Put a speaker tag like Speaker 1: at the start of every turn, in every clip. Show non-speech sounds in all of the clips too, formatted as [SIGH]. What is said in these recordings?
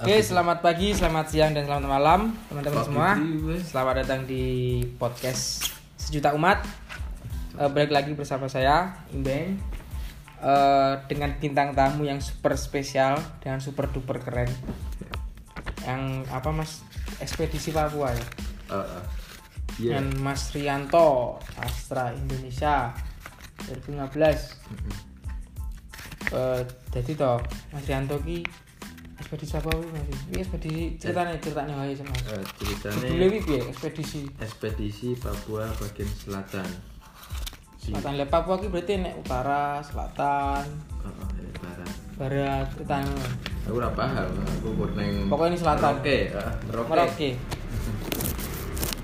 Speaker 1: Oke, selamat pagi, selamat siang, dan selamat malam teman-teman
Speaker 2: Pagi
Speaker 1: semua.
Speaker 2: juga.
Speaker 1: Selamat datang di podcast sejuta umat. Eh, balik lagi bersama saya Imbeng Eh, dengan bintang tamu yang super spesial dengan super duper keren. Yang apa mas? Ekspedisi Papua ya.
Speaker 2: Ah, ah. Iya.
Speaker 1: Dan Mas Rianto Astra Indonesia 2015. Eh, jadi toh Mas Rianto ki ekspedisi apa kuwi Mas? Ini ekspedisi ceritanya ceritanya wae sama.
Speaker 2: Eh,
Speaker 1: Dulu
Speaker 2: ceritanya
Speaker 1: iki piye ekspedisi?
Speaker 2: ekspedisi Papua bagian selatan. Di
Speaker 1: Selatan Le Papua ki berarti nek utara, selatan,
Speaker 2: Ah, ah, dari barat.
Speaker 1: barat, utara.
Speaker 2: Aku ora paham, aku kur neng
Speaker 1: Pokoknya ini selatan.
Speaker 2: Merauke, ah, Merauke.
Speaker 1: Merauke.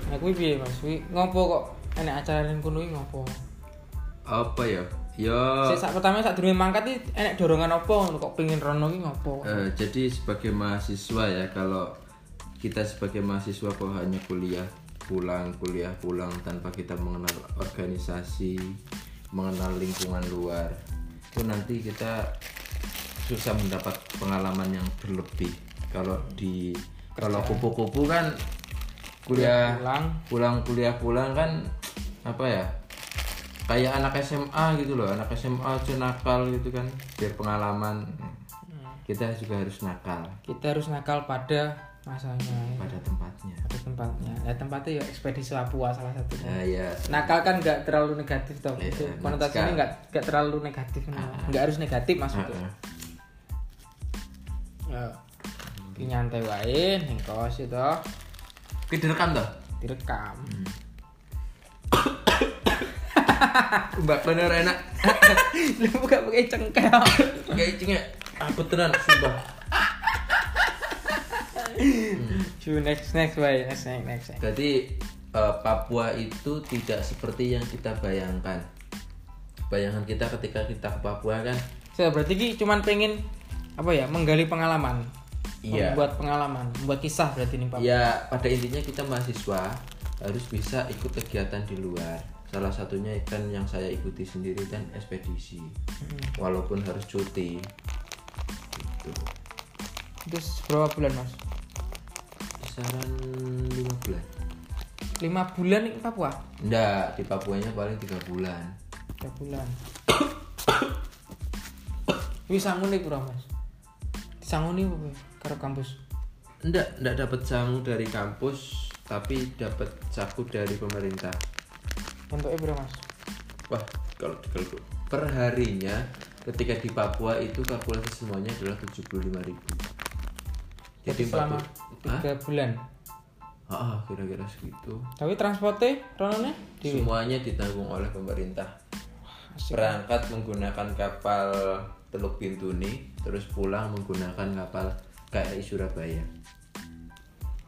Speaker 1: Nah kuwi piye Mas? Kuwi ngopo kok enek acara ning kono iki ngopo?
Speaker 2: Apa ya? Ya
Speaker 1: Sik sak pertama sak durunge mangkat iki enek dorongan apa ngono kok pengin rono iki ngopo?
Speaker 2: eh, jadi sebagai mahasiswa ya kalau kita sebagai mahasiswa kok hanya kuliah pulang kuliah pulang tanpa kita mengenal organisasi mengenal lingkungan luar itu nanti kita susah mendapat pengalaman yang berlebih kalau di kalau kupu-kupu kan kuliah
Speaker 1: Pulang
Speaker 2: pulang kuliah pulang kan apa ya kayak anak SMA gitu loh anak SMA aja nakal gitu kan biar pengalaman kita juga harus nakal
Speaker 1: kita harus nakal pada masanya
Speaker 2: pada tempatnya
Speaker 1: pada tempatnya ya tempatnya ya ekspedisi Papua salah satunya
Speaker 2: nah ya
Speaker 1: nakal kan nggak terlalu negatif tau
Speaker 2: Iya, Ah.
Speaker 1: itu
Speaker 2: nah,
Speaker 1: konotasinya
Speaker 2: sekarang.
Speaker 1: nggak nggak terlalu negatif nah. nggak harus negatif maksudnya
Speaker 2: Heeh.
Speaker 1: ya. Ki nyantai wae ning kos itu
Speaker 2: Oke, direkam toh
Speaker 1: direkam
Speaker 2: Hmm. mbak bener enak
Speaker 1: lu
Speaker 2: Iya,
Speaker 1: [LAUGHS] buka pakai cengkel
Speaker 2: kayak cingnya aku tenan sumpah
Speaker 1: Ju, next next wae next next next next.
Speaker 2: jadi eh, Papua itu tidak seperti yang kita bayangkan bayangan kita ketika kita ke Papua kan
Speaker 1: so, berarti ki cuman pengen apa ya menggali pengalaman
Speaker 2: Iya.
Speaker 1: membuat pengalaman membuat kisah berarti nih Pak
Speaker 2: Ya, pada intinya kita mahasiswa harus bisa ikut kegiatan di luar. Salah satunya kan yang saya ikuti sendiri kan ekspedisi. Hmm. Walaupun harus cuti. Gitu.
Speaker 1: terus berapa bulan mas
Speaker 2: Kisaran 5 bulan.
Speaker 1: lima bulan nih Papua
Speaker 2: Enggak, di Papuanya paling 3 bulan.
Speaker 1: tiga bulan [COUGHS] wih sangun nih kurang mas sangun nih apa karo kampus
Speaker 2: Enggak, enggak dapat sangu dari kampus, tapi dapat saku dari pemerintah.
Speaker 1: bentuknya berapa mas
Speaker 2: Wah, kalau dikalkul perharinya ketika di Papua itu kalkulasi semuanya adalah 75.000.
Speaker 1: jadi selama
Speaker 2: 40 Hah?
Speaker 1: tiga bulan
Speaker 2: Ah, kira-kira segitu.
Speaker 1: tapi transportnya ronone di
Speaker 2: Semuanya ditanggung oleh pemerintah. Berangkat menggunakan kapal Teluk Bintuni, terus pulang menggunakan kapal KRI Surabaya.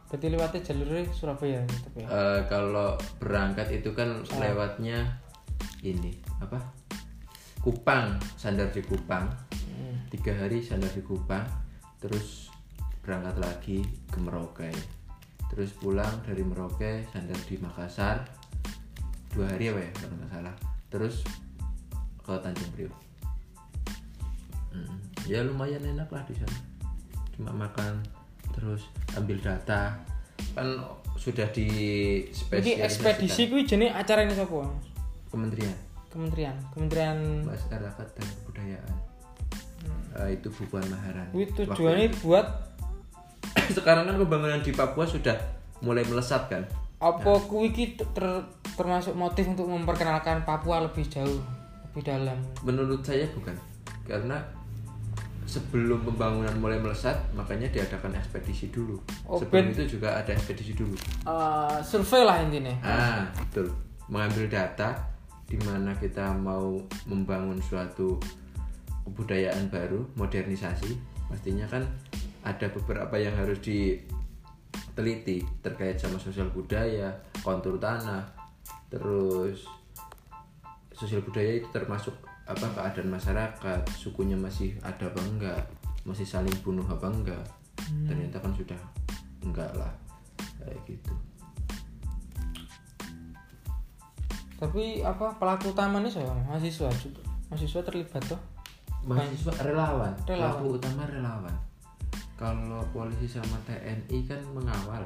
Speaker 1: berarti lewatnya jalurnya Surabaya gitu ya
Speaker 2: Eh, kalau berangkat itu kan lewatnya ini apa? Kupang, sandar di Kupang. Tiga hari sandar di Kupang, terus berangkat lagi ke Merauke. Terus pulang dari Merauke sandar di Makassar. Dua hari apa ya kalau nggak salah. Terus ke Tanjung Priok. Mm, Ya lumayan enak lah di sana. Cuma makan terus ambil data kan sudah di
Speaker 1: jadi ekspedisi kuwi jenis acara ini siapa Mas?
Speaker 2: Kementerian
Speaker 1: kementerian kementerian
Speaker 2: Masyarakat dan Kebudayaan. Eh, itu bukan Maharan.
Speaker 1: kuwi
Speaker 2: Waktu
Speaker 1: Hmm.
Speaker 2: [COUGHS]
Speaker 1: tujuannya buat
Speaker 2: itu. sekarang kan pembangunan di Papua sudah mulai melesat kan.
Speaker 1: apa kuwi ki ter- termasuk motif untuk memperkenalkan Papua lebih jauh lebih dalam
Speaker 2: Menurut saya bukan karena sebelum pembangunan mulai melesat makanya diadakan ekspedisi dulu.
Speaker 1: Oh,
Speaker 2: sebelum itu juga ada ekspedisi dulu.
Speaker 1: Eh, survei lah intinya
Speaker 2: Ah, betul. Mengambil data di mana kita mau membangun suatu kebudayaan baru, modernisasi, pastinya kan ada beberapa yang harus diteliti terkait sama sosial budaya, kontur tanah, terus sosial budaya itu termasuk apa keadaan masyarakat, sukunya masih ada apa enggak, masih saling bunuh apa enggak. Ternyata kan sudah enggak lah. Kayak gitu.
Speaker 1: tapi apa pelaku utamanya saya mahasiswa juga mahasiswa terlibat tuh
Speaker 2: mahasiswa
Speaker 1: Relawan.
Speaker 2: relawan pelaku utama relawan kalau polisi sama TNI kan mengawal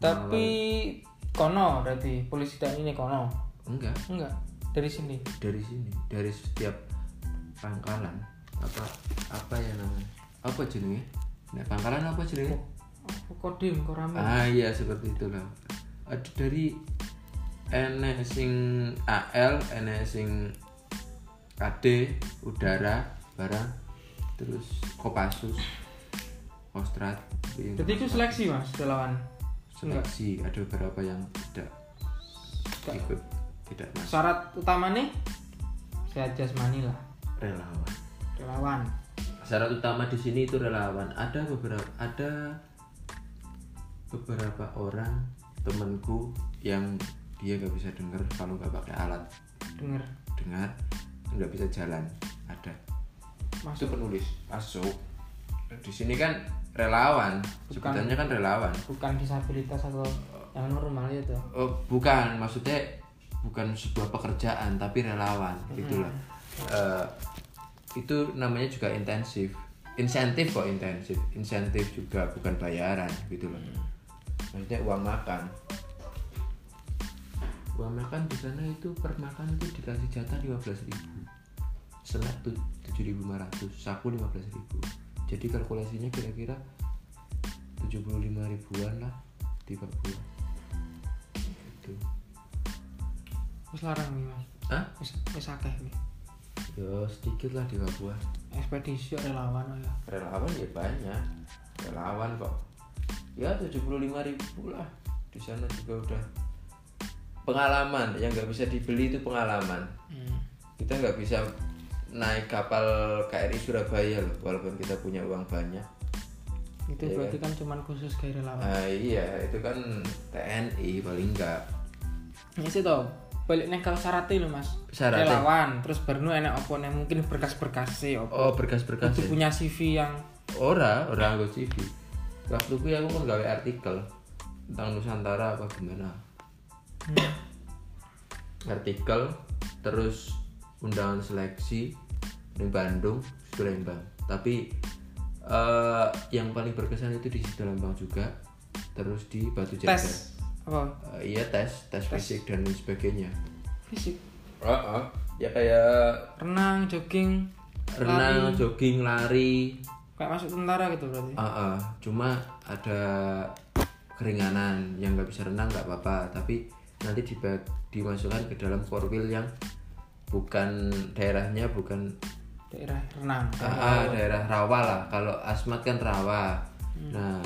Speaker 1: Tapi kono berarti polisi dan ini kono.
Speaker 2: enggak
Speaker 1: Enggak, dari sini.
Speaker 2: dari sini dari setiap pangkalan apa apa yang namanya apa jenenge nah pangkalan apa jenenge
Speaker 1: Apa kodim kok rame?
Speaker 2: ah iya seperti itulah ada dari enek sing AL enek E sing KD udara barang terus Kopassus Kostrad itu yang
Speaker 1: Jadi itu seleksi Mas relawan.
Speaker 2: seleksi ada beberapa yang tidak
Speaker 1: Hmm. Tidak.
Speaker 2: ikut tidak masuk
Speaker 1: Syarat utamanya sehat jasmani lah
Speaker 2: relawan
Speaker 1: relawan.
Speaker 2: syarat utama di sini itu relawan ada beberapa ada beberapa orang temanku yang dia nggak bisa dengar kalau nggak pakai alat
Speaker 1: Dengar
Speaker 2: dengar nggak bisa jalan ada itu
Speaker 1: masuk
Speaker 2: penulis masuk di sini kan relawan
Speaker 1: Bukan.
Speaker 2: sebutannya kan relawan
Speaker 1: bukan disabilitas atau yang normal ya itu.
Speaker 2: Eh, bukan maksudnya bukan sebuah pekerjaan tapi relawan gitulah Eh, itu namanya juga intensif insentif kok intensif insentif juga bukan bayaran gitu loh maksudnya uang makan uang makan di sana itu per makan itu dikasih jatah 15.000 ribu selat tuh 7.500 saku 15.000 jadi kalkulasinya kira-kira 75 ribuan lah tiap bulan gitu
Speaker 1: Wis larang nih Mas.
Speaker 2: Hah?
Speaker 1: Wis wis akeh nih.
Speaker 2: Ya sedikit lah di Papua.
Speaker 1: Ekspedisi kok relawan oh ya.
Speaker 2: Relawan ya banyak. Relawan kok. Ya 75 ribu lah. Di sana juga udah pengalaman yang nggak bisa dibeli itu pengalaman.
Speaker 1: Hmm.
Speaker 2: Kita nggak bisa naik kapal KRI Surabaya loh, walaupun kita punya uang banyak.
Speaker 1: Itu
Speaker 2: Iya
Speaker 1: berarti kan cuman khusus kayak relawan.
Speaker 2: Ah, iya, itu kan TNI paling enggak.
Speaker 1: Ya sih toh, balik nih kalau syaratnya e lho mas
Speaker 2: Syaratnya?
Speaker 1: Relawan, terus baru nu enak apa nih mungkin berkas-berkasnya apa
Speaker 2: Oh, berkas-berkas.
Speaker 1: Itu
Speaker 2: ya?
Speaker 1: punya CV yang
Speaker 2: Ora, ora anggo CV. Waktu kuwi aku kan gawe artikel tentang Nusantara apa gimana.
Speaker 1: hmm,
Speaker 2: artikel terus undangan seleksi di Bandung situ Lembang tapi eh, yang paling berkesan itu di situ Lembang juga terus di Batu Jajar
Speaker 1: Tes Apa?
Speaker 2: Eh, iya tes tes fisik dan lain sebagainya
Speaker 1: Fisik
Speaker 2: Heeh. ya kayak
Speaker 1: Renang, jogging
Speaker 2: renang jogging lari
Speaker 1: Kayak masuk tentara gitu berarti
Speaker 2: Heeh. cuma ada keringanan yang nggak bisa renang nggak apa-apa tapi nanti diba- dimasukkan ke dalam korwil yang bukan daerahnya bukan
Speaker 1: Daerah renang
Speaker 2: Ah, ah, daerah rawa lah kalau asmat kan rawa
Speaker 1: Hmm.
Speaker 2: nah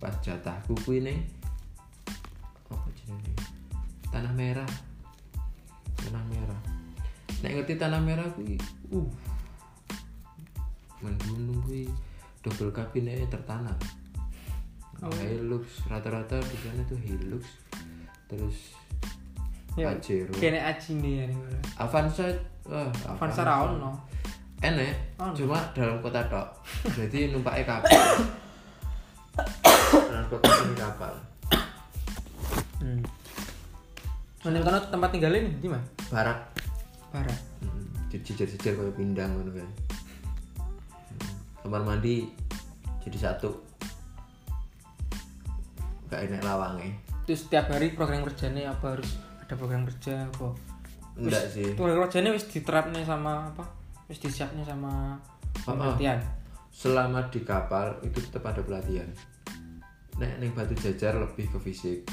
Speaker 2: pas jatahku kuwi ning apa jenenge tanah merah tanah merah nek ngerti tanah merah kuwi uh mendunung kuwi double kabinetnya tertanam
Speaker 1: Oh.
Speaker 2: Hilux rata-rata di sana tuh Hilux terus
Speaker 1: Ya,
Speaker 2: Pajero
Speaker 1: Kene aji nih ya nih
Speaker 2: Avanza eh, wah
Speaker 1: Avanza raon no
Speaker 2: enak
Speaker 1: Oh.
Speaker 2: cuma dalam kota tok jadi numpaknya kapal dalam kota ini kapal
Speaker 1: hmm. Menurut kamu tempat tinggalin di mana?
Speaker 2: barak
Speaker 1: Barat
Speaker 2: jejer-jejer kayak pindang kan kan kamar mandi jadi satu gak enak lawangnya
Speaker 1: Terus setiap hari program kerjanya apa harus ada program kerja apa?
Speaker 2: enggak sih
Speaker 1: Program kerjanya wis diterapnya sama apa? Wis disiapnya sama pengertian.
Speaker 2: selama di kapal itu tetap ada pelatihan nek ning batu jajar lebih ke fisik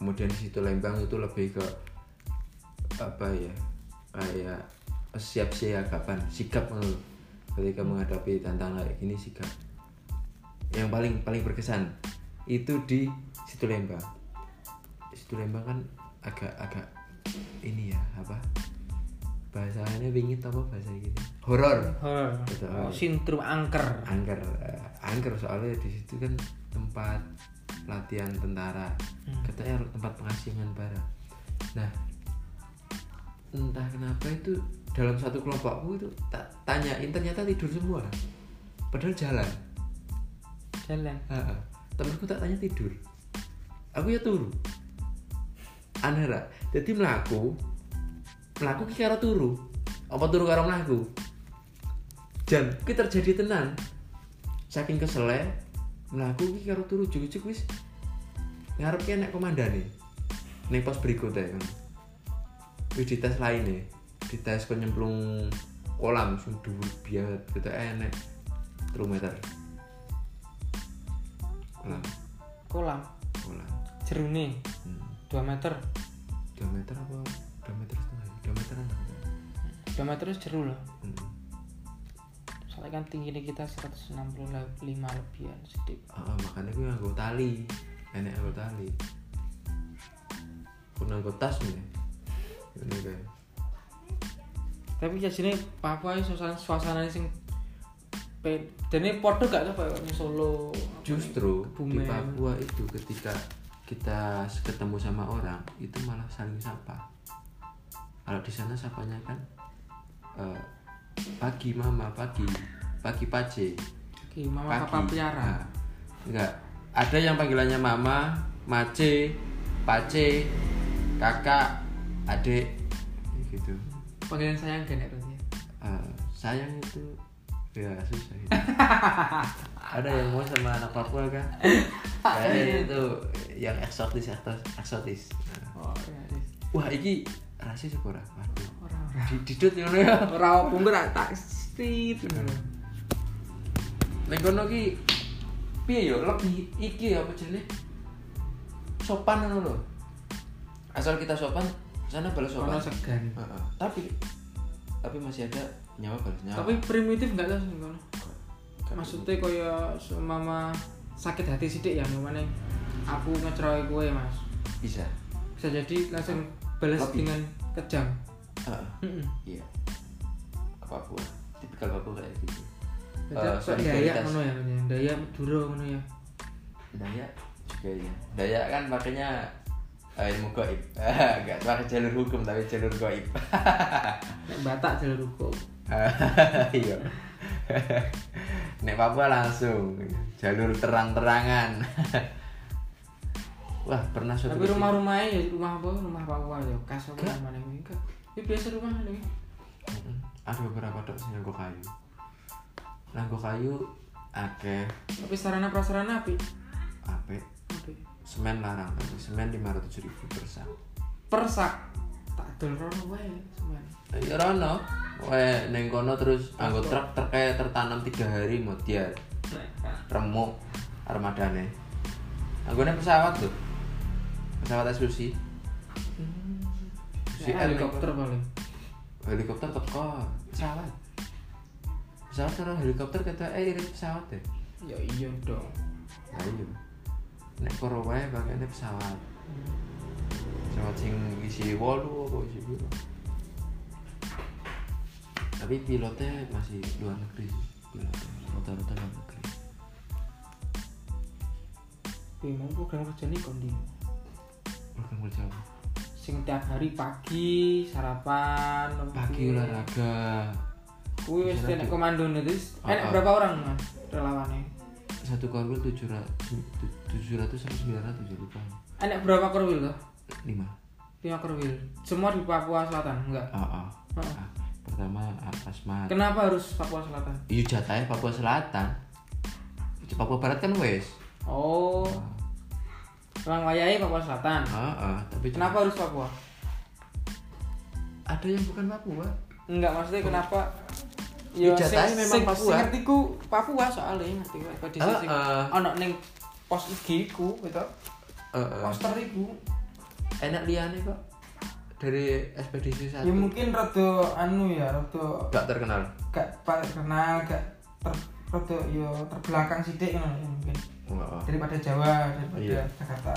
Speaker 2: kemudian di situ lembang itu lebih ke apa ya kayak siap siagapan sikap ngono lho. ketika menghadapi tantangan kayak gini sikap yang paling paling berkesan itu di situ lembang situ lembang kan agak agak ini ya apa bahasanya wingit apa bahasa gitu horor
Speaker 1: Horor.
Speaker 2: Betul.
Speaker 1: Oh, Sindrom angker.
Speaker 2: angker eh, angker soalnya di situ kan tempat latihan tentara katanya tempat pengasingan barang nah entah kenapa itu dalam satu kelompokku itu tak tanyain ternyata tidur semua padahal jalan
Speaker 1: Jalan.
Speaker 2: Heeh. temanku tak tanya tidur aku ya turu aneh ra jadi melaku melaku ki karo turu apa turu karo melaku jan ki terjadi tenan saking kesele mlaku iki karo turu jujuk wis ngarep ki enek komandane ning pos berikutnya kan wis dites lainnya dites penyemplung kolam sing dhuwur banget kita enek 3 meter kolam
Speaker 1: kolam
Speaker 2: kolam
Speaker 1: jerune
Speaker 2: hmm.
Speaker 1: 2 meter
Speaker 2: 2 meter apa 2 meter setengah ya? 2 meteran lah.
Speaker 1: 2 meter itu jeru loh
Speaker 2: hmm.
Speaker 1: soalnya kan tingginya kita 165 lebihan sedikit
Speaker 2: Ah, makanya gue nganggo tali enek nganggo tali gue nganggo tas nih ini kan. kayak
Speaker 1: tapi ya sini Papua ini suasana suasana sing pe- dene podo gak apa ya Solo
Speaker 2: justru di
Speaker 1: Kebumen.
Speaker 2: Papua itu ketika kita ketemu sama orang itu malah saling sapa kalau di sana sapanya kan eh, pagi mama pagi pagi pace
Speaker 1: Ki, mama papa
Speaker 2: Ah,
Speaker 1: piara
Speaker 2: enggak. Ada yang panggilannya mama, mace, pace, kakak, adik ya gitu.
Speaker 1: panggilan sayang gak nek Ruth, ya?
Speaker 2: Ah, sayang itu ya susah.
Speaker 1: [LAUGHS]
Speaker 2: itu. Ada yang mau sama anak Papua kan?
Speaker 1: Iya.
Speaker 2: Kayaknya itu yang eksotis eksotis. eksotis. Nah.
Speaker 1: oh ya wis.
Speaker 2: Wah, ini rasis apa ora? Waduh.
Speaker 1: ora ora
Speaker 2: Di- Didut ngono ya.
Speaker 1: ora opo ora tak stit
Speaker 2: Nek kono ki piye yo lebih iki ya, apa jenenge? Sopan ngono lho. Asal kita sopan, sana balas sopan.
Speaker 1: ono segan
Speaker 2: Heeh. Tapi tapi masih ada nyawa balas nyawa.
Speaker 1: tapi primitif gak tau sih ngono
Speaker 2: gitu.
Speaker 1: maksudnya kaya mama sakit hati sidik ya mana aku ngecerai gue mas
Speaker 2: bisa.
Speaker 1: bisa jadi langsung balas
Speaker 2: Lebih.
Speaker 1: dengan kejam
Speaker 2: Heeh.
Speaker 1: Mm-mm.
Speaker 2: Iya. Ke Papua. Tipikal Papua kayak gitu.
Speaker 1: Jadi kok
Speaker 2: Eh,
Speaker 1: dayak
Speaker 2: solidaritas.
Speaker 1: ngono ya Mas, ya. dayak duro ngono ya
Speaker 2: Dayak juga ya. Dayak kan pakainya eh, ilmu gaib. [LAUGHS] Enggak pakai jalur hukum tapi jalur gaib.
Speaker 1: nek batak jalur ruko
Speaker 2: [LAUGHS] iya nek Papua langsung jalur terang-terangan [LAUGHS] wah pernah suatu
Speaker 1: tapi
Speaker 2: ketika-
Speaker 1: rumah-rumahnya ya rumah apa rumah Papua ya kas apa
Speaker 2: Gak.
Speaker 1: mana ini Gak. ini biasa rumah ini
Speaker 2: Mm-mm. ada beberapa dok sing nganggo kayu nganggo kayu akeh
Speaker 1: tapi sarana prasarana api
Speaker 2: apik
Speaker 1: api
Speaker 2: semen larang tapi semen 500 ribu persak
Speaker 1: persak tak dolor wae semen
Speaker 2: ya rono Weh, neng kono terus anggo truk terkaya tertanam tiga hari modiar remuk armadane anggone pesawat tuh pesawat Asusi
Speaker 1: si Ya, helikopter paling
Speaker 2: helikopter teko pesawat pesawat karo helikopter kata eh irit pesawat deh
Speaker 1: ya iya dong
Speaker 2: ya iya nek koro wae pakainya pesawat pesawat sing isi wolu apa isi biru tapi pilotnya masih luar negeri sih pilotnya rata-rata luar negeri
Speaker 1: memang program kerja ini kondi
Speaker 2: program kerja apa?
Speaker 1: sing tiap hari pagi sarapan Iya.
Speaker 2: pagi olahraga
Speaker 1: kuwi wis
Speaker 2: Bisa
Speaker 1: enek
Speaker 2: nanti.
Speaker 1: komando terus
Speaker 2: Ah,
Speaker 1: enek
Speaker 2: ah.
Speaker 1: berapa orang mas relawannya
Speaker 2: satu korwil tujuh ratus tujuh ratus sampai sembilan ratus ya lupa
Speaker 1: enek berapa kerwil loh
Speaker 2: lima
Speaker 1: lima kerwil semua di Papua Selatan enggak
Speaker 2: ah ah.
Speaker 1: Heeh.
Speaker 2: Ah, pertama ah, asmat
Speaker 1: kenapa harus Papua Selatan
Speaker 2: Iya jatahnya Papua Selatan. Papua Barat kan wes.
Speaker 1: oh
Speaker 2: Ah.
Speaker 1: orang wayai Papua Selatan
Speaker 2: Heeh, tapi
Speaker 1: Ah. kenapa harus Papua
Speaker 2: ada yang bukan Papua?
Speaker 1: Enggak maksudnya kenapa
Speaker 2: Oh. Ya,
Speaker 1: Ya sing
Speaker 2: jatahnya memang
Speaker 1: sing
Speaker 2: Papua. Ah,
Speaker 1: sing ngerti ku Papua soalnya ngerti ku apa dhisik sing
Speaker 2: Heeh.
Speaker 1: ono ning pos IG ku gitu.
Speaker 2: Heeh.
Speaker 1: Poster iku.
Speaker 2: Enak liane kok. Dari ekspedisi satu.
Speaker 1: Ya mungkin rada anu ya rada
Speaker 2: Gak terkenal.
Speaker 1: gak pa- kenal gak ter, rada ya terbelakang sithik ngono ya mungkin
Speaker 2: Heeh.
Speaker 1: daripada Jawa daripada
Speaker 2: Iya.
Speaker 1: Jakarta.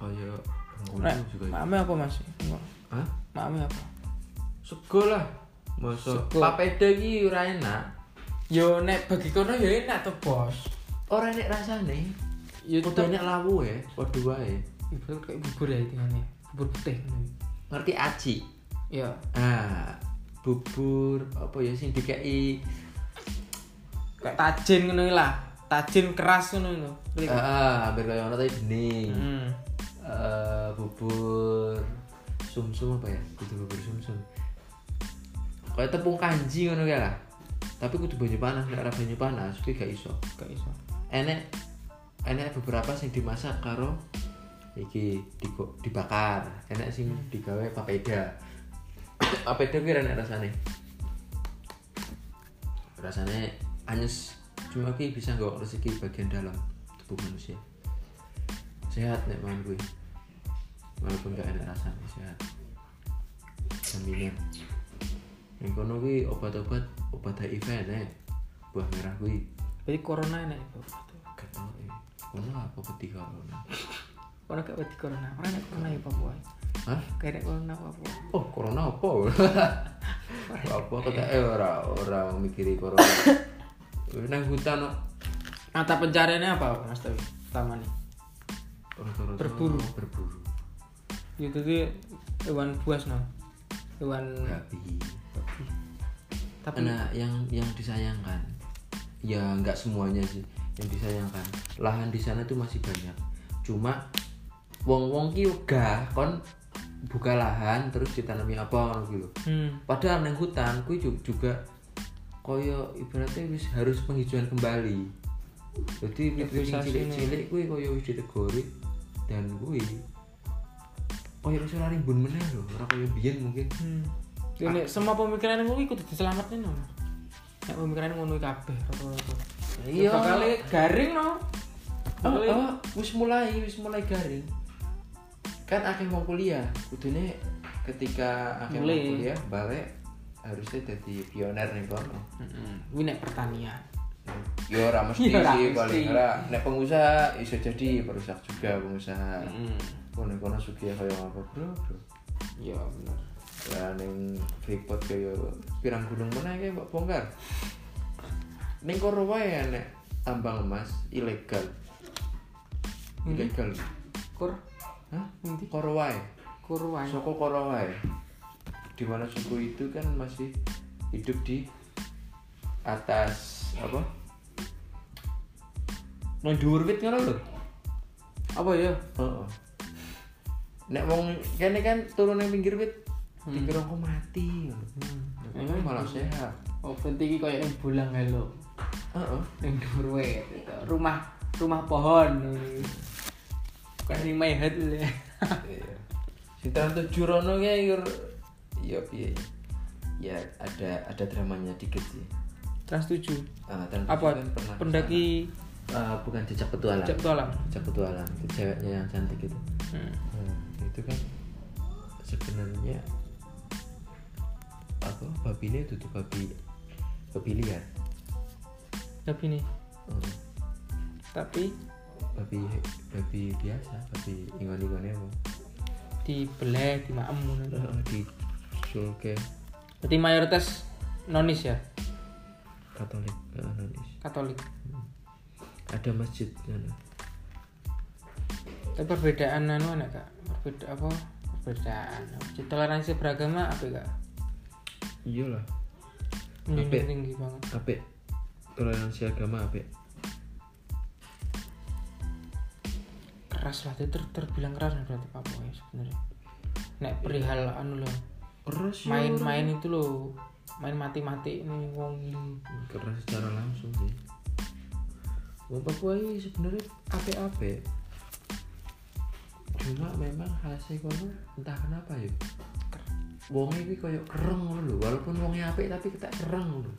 Speaker 2: Oh iya.
Speaker 1: Rek,
Speaker 2: Orang juga. iya. ya.
Speaker 1: makame apa Mas? Enggak.
Speaker 2: Hah?
Speaker 1: Makame apa?
Speaker 2: Sego lah. Masa
Speaker 1: Sego.
Speaker 2: papeda iki ora enak.
Speaker 1: Yo nek bagi kono ya enak to, Bos.
Speaker 2: Ora enak rasane.
Speaker 1: Yo
Speaker 2: Udah
Speaker 1: tetep
Speaker 2: enak lawu ya, padha wae.
Speaker 1: ibarat kayak bubur ya hitungannya. Bubur putih ngono.
Speaker 2: Ngerti aci.
Speaker 1: Ya,
Speaker 2: Ah, bubur apa ya sing dikeki
Speaker 1: kayak tajin ngono iki lah tajin keras ngono lho Ngerti
Speaker 2: Ah,
Speaker 1: gak?
Speaker 2: ah, hampir kayak ngono tapi bening.
Speaker 1: hmm.
Speaker 2: Eh, bubur sumsum apa ya? Itu bubur sumsum. kayak tepung kanji ngono kae lah. Tapi kudu banyu panas, nek ora banyu panas kuwi gak iso.
Speaker 1: gak iso
Speaker 2: Enek enek beberapa sing dimasak karo iki digo- dibakar. Enek sing digawe papeda. [COUGHS] papeda kuwi enak rasane. Rasane anyes cuma ki bisa nggak rezeki bagian dalam tubuh manusia. Sehat nek mangan kuwi. Walaupun gak enak rasane sehat. Jaminan. Yang kono kuwi obat-obat obat HIV nek buah merah kuwi
Speaker 1: berarti corona enak ya, itu
Speaker 2: gak tau eh kono apa ketika corona
Speaker 1: orang gak wedi corona orang enak corona ya Papua
Speaker 2: hah
Speaker 1: kayak enak corona Papua
Speaker 2: oh corona apa [LAUGHS] apa kata eh ora ora mikiri
Speaker 1: [COUGHS]
Speaker 2: corona nang hutan no
Speaker 1: mata pencariannya apa Mas Tawi pertama nih
Speaker 2: Rata-rata
Speaker 1: Berburu.
Speaker 2: berburu
Speaker 1: itu tuh hewan buas no hewan
Speaker 2: babi
Speaker 1: tapi
Speaker 2: nah yang yang disayangkan ya nggak semuanya sih yang disayangkan lahan di sana tuh masih banyak cuma wong wong ki gah kon buka lahan terus ditanami apa gitu
Speaker 1: hmm,
Speaker 2: padahal neng hutan kui ju- juga koyo ibaratnya wis harus penghijauan kembali jadi wit-wit sing
Speaker 1: Deforestasi
Speaker 2: cilik-cilik kui koyo wis ditegori dan kui koyo wis ora rimbun meneh lho ora koyo biyen mungkin
Speaker 1: hmm. Yo, nek semua pemikiran yang ikut diselamatin no nek pemikiran yang ngono kabeh rata-rata Ya
Speaker 2: Iya.
Speaker 1: bakal garing no
Speaker 2: Oh,
Speaker 1: Bakal-
Speaker 2: oh, wis mulai, wis mulai garing. Kan akeh mau kuliah, kudune ketika akeh mau
Speaker 1: Mulai.
Speaker 2: kuliah balik harusnya jadi pioner nih kono.
Speaker 1: Mm-mm. Ini nek pertanian.
Speaker 2: Ya ora mesti
Speaker 1: Ya ora
Speaker 2: sih
Speaker 1: mesti.
Speaker 2: paling ora nek pengusaha iso jadi perusak juga pengusaha. Kono kono sugih kaya apa, Bro? bro.
Speaker 1: Iya benar.
Speaker 2: Lah ning Freeport kaya pirang gunung meneh kae mbok bongkar. Ning koro wae ya, nek tambang emas ilegal. Ilegal.
Speaker 1: Kur,
Speaker 2: Hah?
Speaker 1: nanti
Speaker 2: Koro wae.
Speaker 1: kurwan.
Speaker 2: Soko Korowai di mana suku itu kan masih hidup di atas apa? Nang dhuwur wit ngono lho.
Speaker 1: Apa ya?
Speaker 2: Heeh. Nek wong kene kan turun nang pinggir wit dikira kok mati. Ini malah sehat.
Speaker 1: Oh, berarti iki koyo yang bulang halo.
Speaker 2: Heeh.
Speaker 1: Yang dhuwur wae, gitu. Rumah rumah pohon. Kan ini my head lho. [LAUGHS]
Speaker 2: Iya. Sintan tujuh rono ya ya piye. Ya ada ada dramanya dikit sih.
Speaker 1: Trans 7.
Speaker 2: Ah, Trans
Speaker 1: Apa?
Speaker 2: tujuh kan pernah kesana.
Speaker 1: Pendaki
Speaker 2: Ah, bukan jejak petualang.
Speaker 1: Cek Tolang.
Speaker 2: Cak petualang itu ceweknya yang cantik itu hmm, itu kan sebenarnya apa babi ini tutup babi babi liar
Speaker 1: Tapi nih,
Speaker 2: Hmm,
Speaker 1: tapi
Speaker 2: babi babi biasa babi ingon ingonnya apa
Speaker 1: dibelah di maem ngono.
Speaker 2: Heeh, oh, di sulke
Speaker 1: Berarti mayoritas nonis ya,
Speaker 2: katolik heeh, nonis.
Speaker 1: Katolik.
Speaker 2: ada masjid kan
Speaker 1: Tapi perbedaan anu anak kak, perbeda apa? Perbedaan. Toleransi beragama apa kak?
Speaker 2: iyalah
Speaker 1: Ini
Speaker 2: Apa?
Speaker 1: tinggi banget.
Speaker 2: ape toleransi agama ape
Speaker 1: Keras lah, itu ter- terbilang keras nih berarti Papua ya sebenarnya. Nek
Speaker 2: Iya.
Speaker 1: perihal anu loh,
Speaker 2: keras ya, orang.
Speaker 1: main-main itu loh, main mati-mati ini wong ini.
Speaker 2: keras secara langsung sih Wong Papua ini sebenarnya ape-ape cuma memang khasnya kono entah kenapa ya wongnya ini kayak kereng ngono lho walaupun wongnya apik tapi kita kereng ngono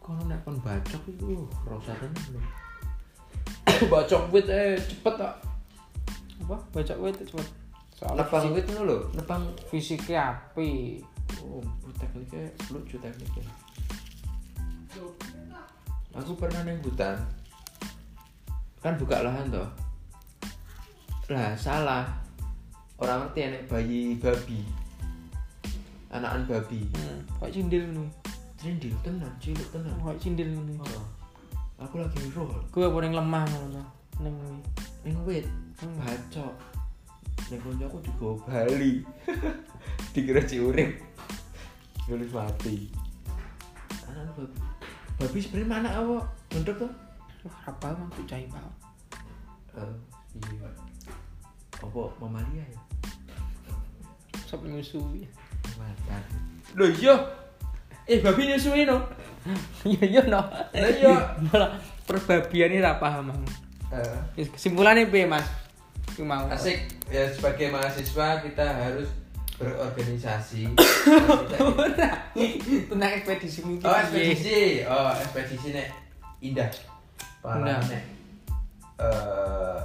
Speaker 2: kono nek kon bacok itu uh, rosa tenan lho [COUGHS] bacok wit eh cepet tak
Speaker 1: Apa? Baca gue itu cepet. Soalnya
Speaker 2: nepang wit ngono lho nepang
Speaker 1: fisiknya api.
Speaker 2: Oh, bu, tekniknya lucu tekniknya. Aku pernah neng hutan, kan buka lahan toh. Lah salah, orang ngerti enek bayi babi, anakan babi.
Speaker 1: Hmm. Kayak cindil nih,
Speaker 2: Trindil tenan, cilik tenan.
Speaker 1: kayak cindil nih.
Speaker 2: Oh, aku lagi roll,
Speaker 1: Gue apa yang lemah ngono loh, neng ini.
Speaker 2: neng wit, neng bacok. Neng konco aku digawa Bali, [LAUGHS] dikira ciurip, nulis mati. Anak Anu babi, babi sebenarnya mana awak? Bentuk tuh?
Speaker 1: Wah, rapal mah tuh cai banget.
Speaker 2: Eh, iya. Apa mamalia ya?
Speaker 1: Sob nyusui.
Speaker 2: Makan.
Speaker 1: Loh iya. Eh babi nyusui no. [LAUGHS] Iya iya no.
Speaker 2: Lah, iya.
Speaker 1: [LAUGHS] Malah perbabian ini ra paham. Mang.
Speaker 2: Eh,
Speaker 1: Wis, Kesimpulannya piye, Mas? Ki mau.
Speaker 2: asik ya sebagai mahasiswa kita harus [COUGHS] berorganisasi. Kita-
Speaker 1: Ora. Tentang ekspedisi mungkin.
Speaker 2: Oh ekspedisi, oh ekspedisi nek indah.
Speaker 1: Indah.
Speaker 2: Parah nek eh,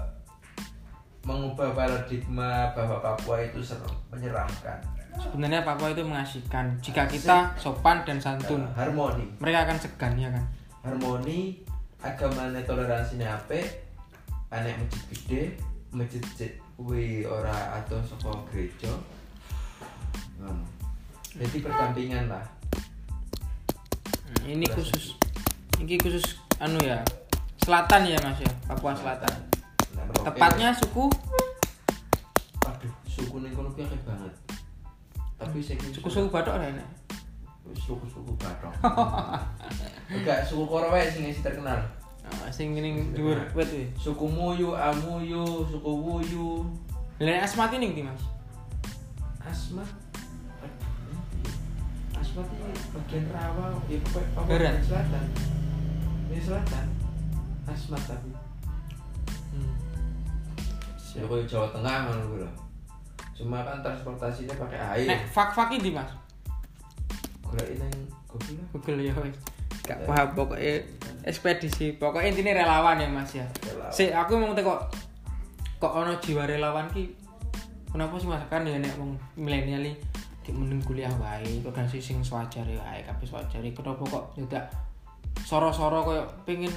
Speaker 2: mengubah paradigma bahwa Papua itu serem, menyeramkan,
Speaker 1: Sebenarnya Papua itu mengasihkan jika kita sopan dan santun.
Speaker 2: Eh, harmoni,
Speaker 1: Mereka akan segan ya kan.
Speaker 2: harmoni, agama nek toleransi nek apik, anek masjid gede, masjid jid- kuwi ora atau saka gereja. Ngono. Jadi perdampingan lah.
Speaker 1: Hmm, Ini khusus ini khusus anu ya. Selatan ya Mas ya, Papua Selatan.
Speaker 2: Nah, Merauke-
Speaker 1: Tepatnya suku
Speaker 2: Waduh, suku ning kono kuwi akeh banget. Tapi saiki
Speaker 1: suku-suku Batok lah ini.
Speaker 2: suku-suku batok. [LAUGHS] Enggak, suku Korwe sing sing terkenal.
Speaker 1: Oh, sing ning dhuwur wet kuwi.
Speaker 2: Suku Muyu, Amuyu, suku Wuyu,
Speaker 1: Lah nek Asmati ning ndi Mas?
Speaker 2: Asmat. Asmat ini bagian rawa, ya pokoknya pokoknya
Speaker 1: Barat.
Speaker 2: bagian selatan. Ini selatan. Asmat tapi.
Speaker 1: Hmm.
Speaker 2: Ya kalau Jawa Tengah kan gue loh. Cuma kan transportasinya pakai air.
Speaker 1: Nek fak-fak ini Mas.
Speaker 2: Gula ini yang gue bilang.
Speaker 1: Google ya wis. Gak paham pokoknya ekspedisi. Pokoknya intinya relawan ya Mas ya.
Speaker 2: Relawan.
Speaker 1: Si aku mau teko kok ono jiwa relawan ki kenapa sih Mas kan ya nek wong milenial iki ki mending kuliah wae, organisasi sing sewajare wae, kabeh sewajare. Kenapa kok tidak soro-soro koyo pengen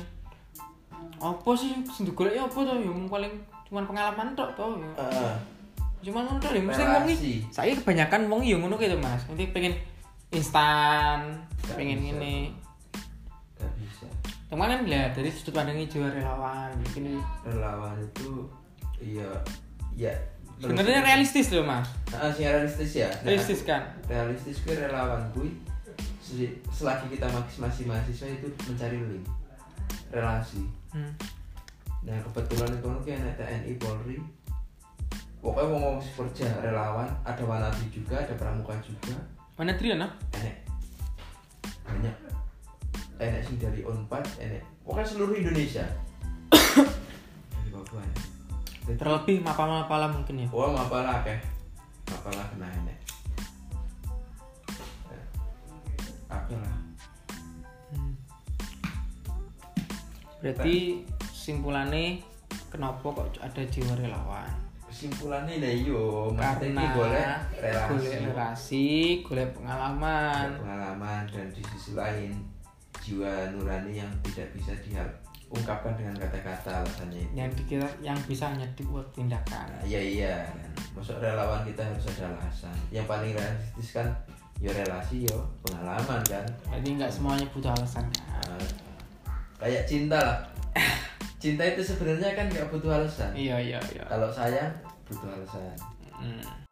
Speaker 1: apa sih sing digoleki apa to ya mung paling cuman pengalaman tok to ya.
Speaker 2: Heeh.
Speaker 1: Cuma ngono tok lho, mesti wong
Speaker 2: Eh, Relasi.
Speaker 1: iki. Saiki kebanyakan wong ya ngono gitu, Mas. Nanti pengen instan,
Speaker 2: Gak
Speaker 1: pengen
Speaker 2: bisa.
Speaker 1: ngene.
Speaker 2: Gak bisa.
Speaker 1: Cuman kan lah dari sudut pandangnya jiwa relawan, mungkin
Speaker 2: relawan itu iya ya
Speaker 1: sebenarnya realistis loh, Mas.
Speaker 2: Ah, sing realistis ya Nah,
Speaker 1: Realistis kan.
Speaker 2: realistis gue relawan gue se- selagi kita mas- masih mahasiswa itu mencari link relasi
Speaker 1: Hmm.
Speaker 2: nah kebetulan itu kan kayak anak TNI Polri pokoknya mau ngomong kerja relawan ada wanati juga ada pramuka juga
Speaker 1: Mana Triana?
Speaker 2: enek banyak enek sing dari unpad enek pokoknya seluruh Indonesia dari Papua enek. Jadi-
Speaker 1: Terlebih mapala-mapala mungkin ya.
Speaker 2: Wah, Oh, apalah akeh. Apalah Ya. kena enek. Akeh lah.
Speaker 1: Hmm. Berarti simpulannya kenapa kok ada jiwa relawan?
Speaker 2: Kesimpulannya lah yo, maksudnya
Speaker 1: Karena
Speaker 2: ini boleh relasi,
Speaker 1: golek relasi, golek pengalaman.
Speaker 2: pengalaman dan di sisi lain jiwa nurani yang tidak bisa diungkapkan dengan kata-kata alasannya itu.
Speaker 1: yang dikira yang bisa hanya dibuat tindakan.
Speaker 2: Nah, iya iya. kan. Masuk relawan kita harus ada alasan. Yang paling realistis kan yo relasi yo pengalaman kan.
Speaker 1: Jadi nggak semuanya butuh alasan kan?
Speaker 2: Nah, kayak cinta lah. Cinta itu sebenarnya kan nggak butuh alasan.
Speaker 1: Iya iya iya.
Speaker 2: Kalau sayang butuh alasan.
Speaker 1: Hmm.